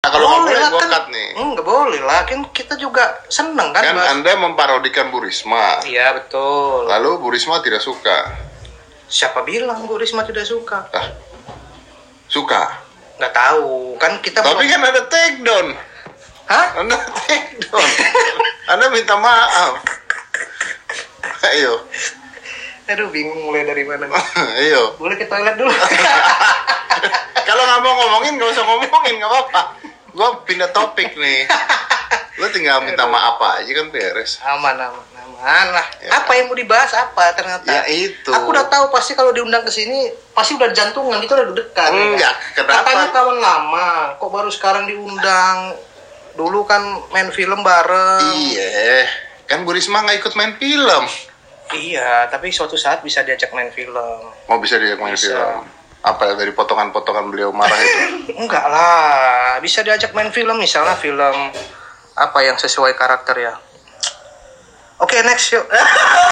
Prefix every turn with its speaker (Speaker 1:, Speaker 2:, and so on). Speaker 1: Ah,
Speaker 2: Oh,
Speaker 1: kalau nggak
Speaker 2: iya, kan.
Speaker 1: boleh, gua cut nih.
Speaker 2: Enggak boleh lah, kan kita juga seneng kan,
Speaker 1: Kan
Speaker 2: bahas-
Speaker 1: Anda memparodikan Bu Risma.
Speaker 2: Iya betul.
Speaker 1: Lalu Bu Risma tidak suka.
Speaker 2: Siapa bilang Bu Risma tidak suka?
Speaker 1: Lah. Suka.
Speaker 2: Nggak tahu, kan kita
Speaker 1: Tapi kan ada take down.
Speaker 2: Hah?
Speaker 1: Anda take down. Anda minta maaf. Ayo.
Speaker 2: Aduh bingung mulai dari mana.
Speaker 1: Ayo.
Speaker 2: Boleh ke toilet dulu.
Speaker 1: Kalau nggak mau ngomongin nggak usah ngomongin nggak apa-apa. Gua pindah topik nih. Lu tinggal minta
Speaker 2: Iya.
Speaker 1: maaf aja kan beres.
Speaker 2: aman aman aman lah.
Speaker 1: Ya.
Speaker 2: Apa yang mau dibahas apa ternyata?
Speaker 1: Ya itu.
Speaker 2: Aku udah tahu pasti kalau diundang ke sini pasti udah jantungan gitu udah deg-degan.
Speaker 1: Enggak, Hmm, ya, kenapa?
Speaker 2: Katanya kawan lama, kok baru sekarang diundang? Dulu kan main film bareng.
Speaker 1: Iya. Kan Bu Risma nggak ikut main film.
Speaker 2: Iya, tapi suatu saat bisa diajak main film.
Speaker 1: Mau bisa dia main
Speaker 2: Bisa.
Speaker 1: film. Apa ya dari potongan-potongan beliau marah itu?
Speaker 2: Enggak lah, bisa diajak main film misalnya film apa yang sesuai karakter ya. Oke, next yuk.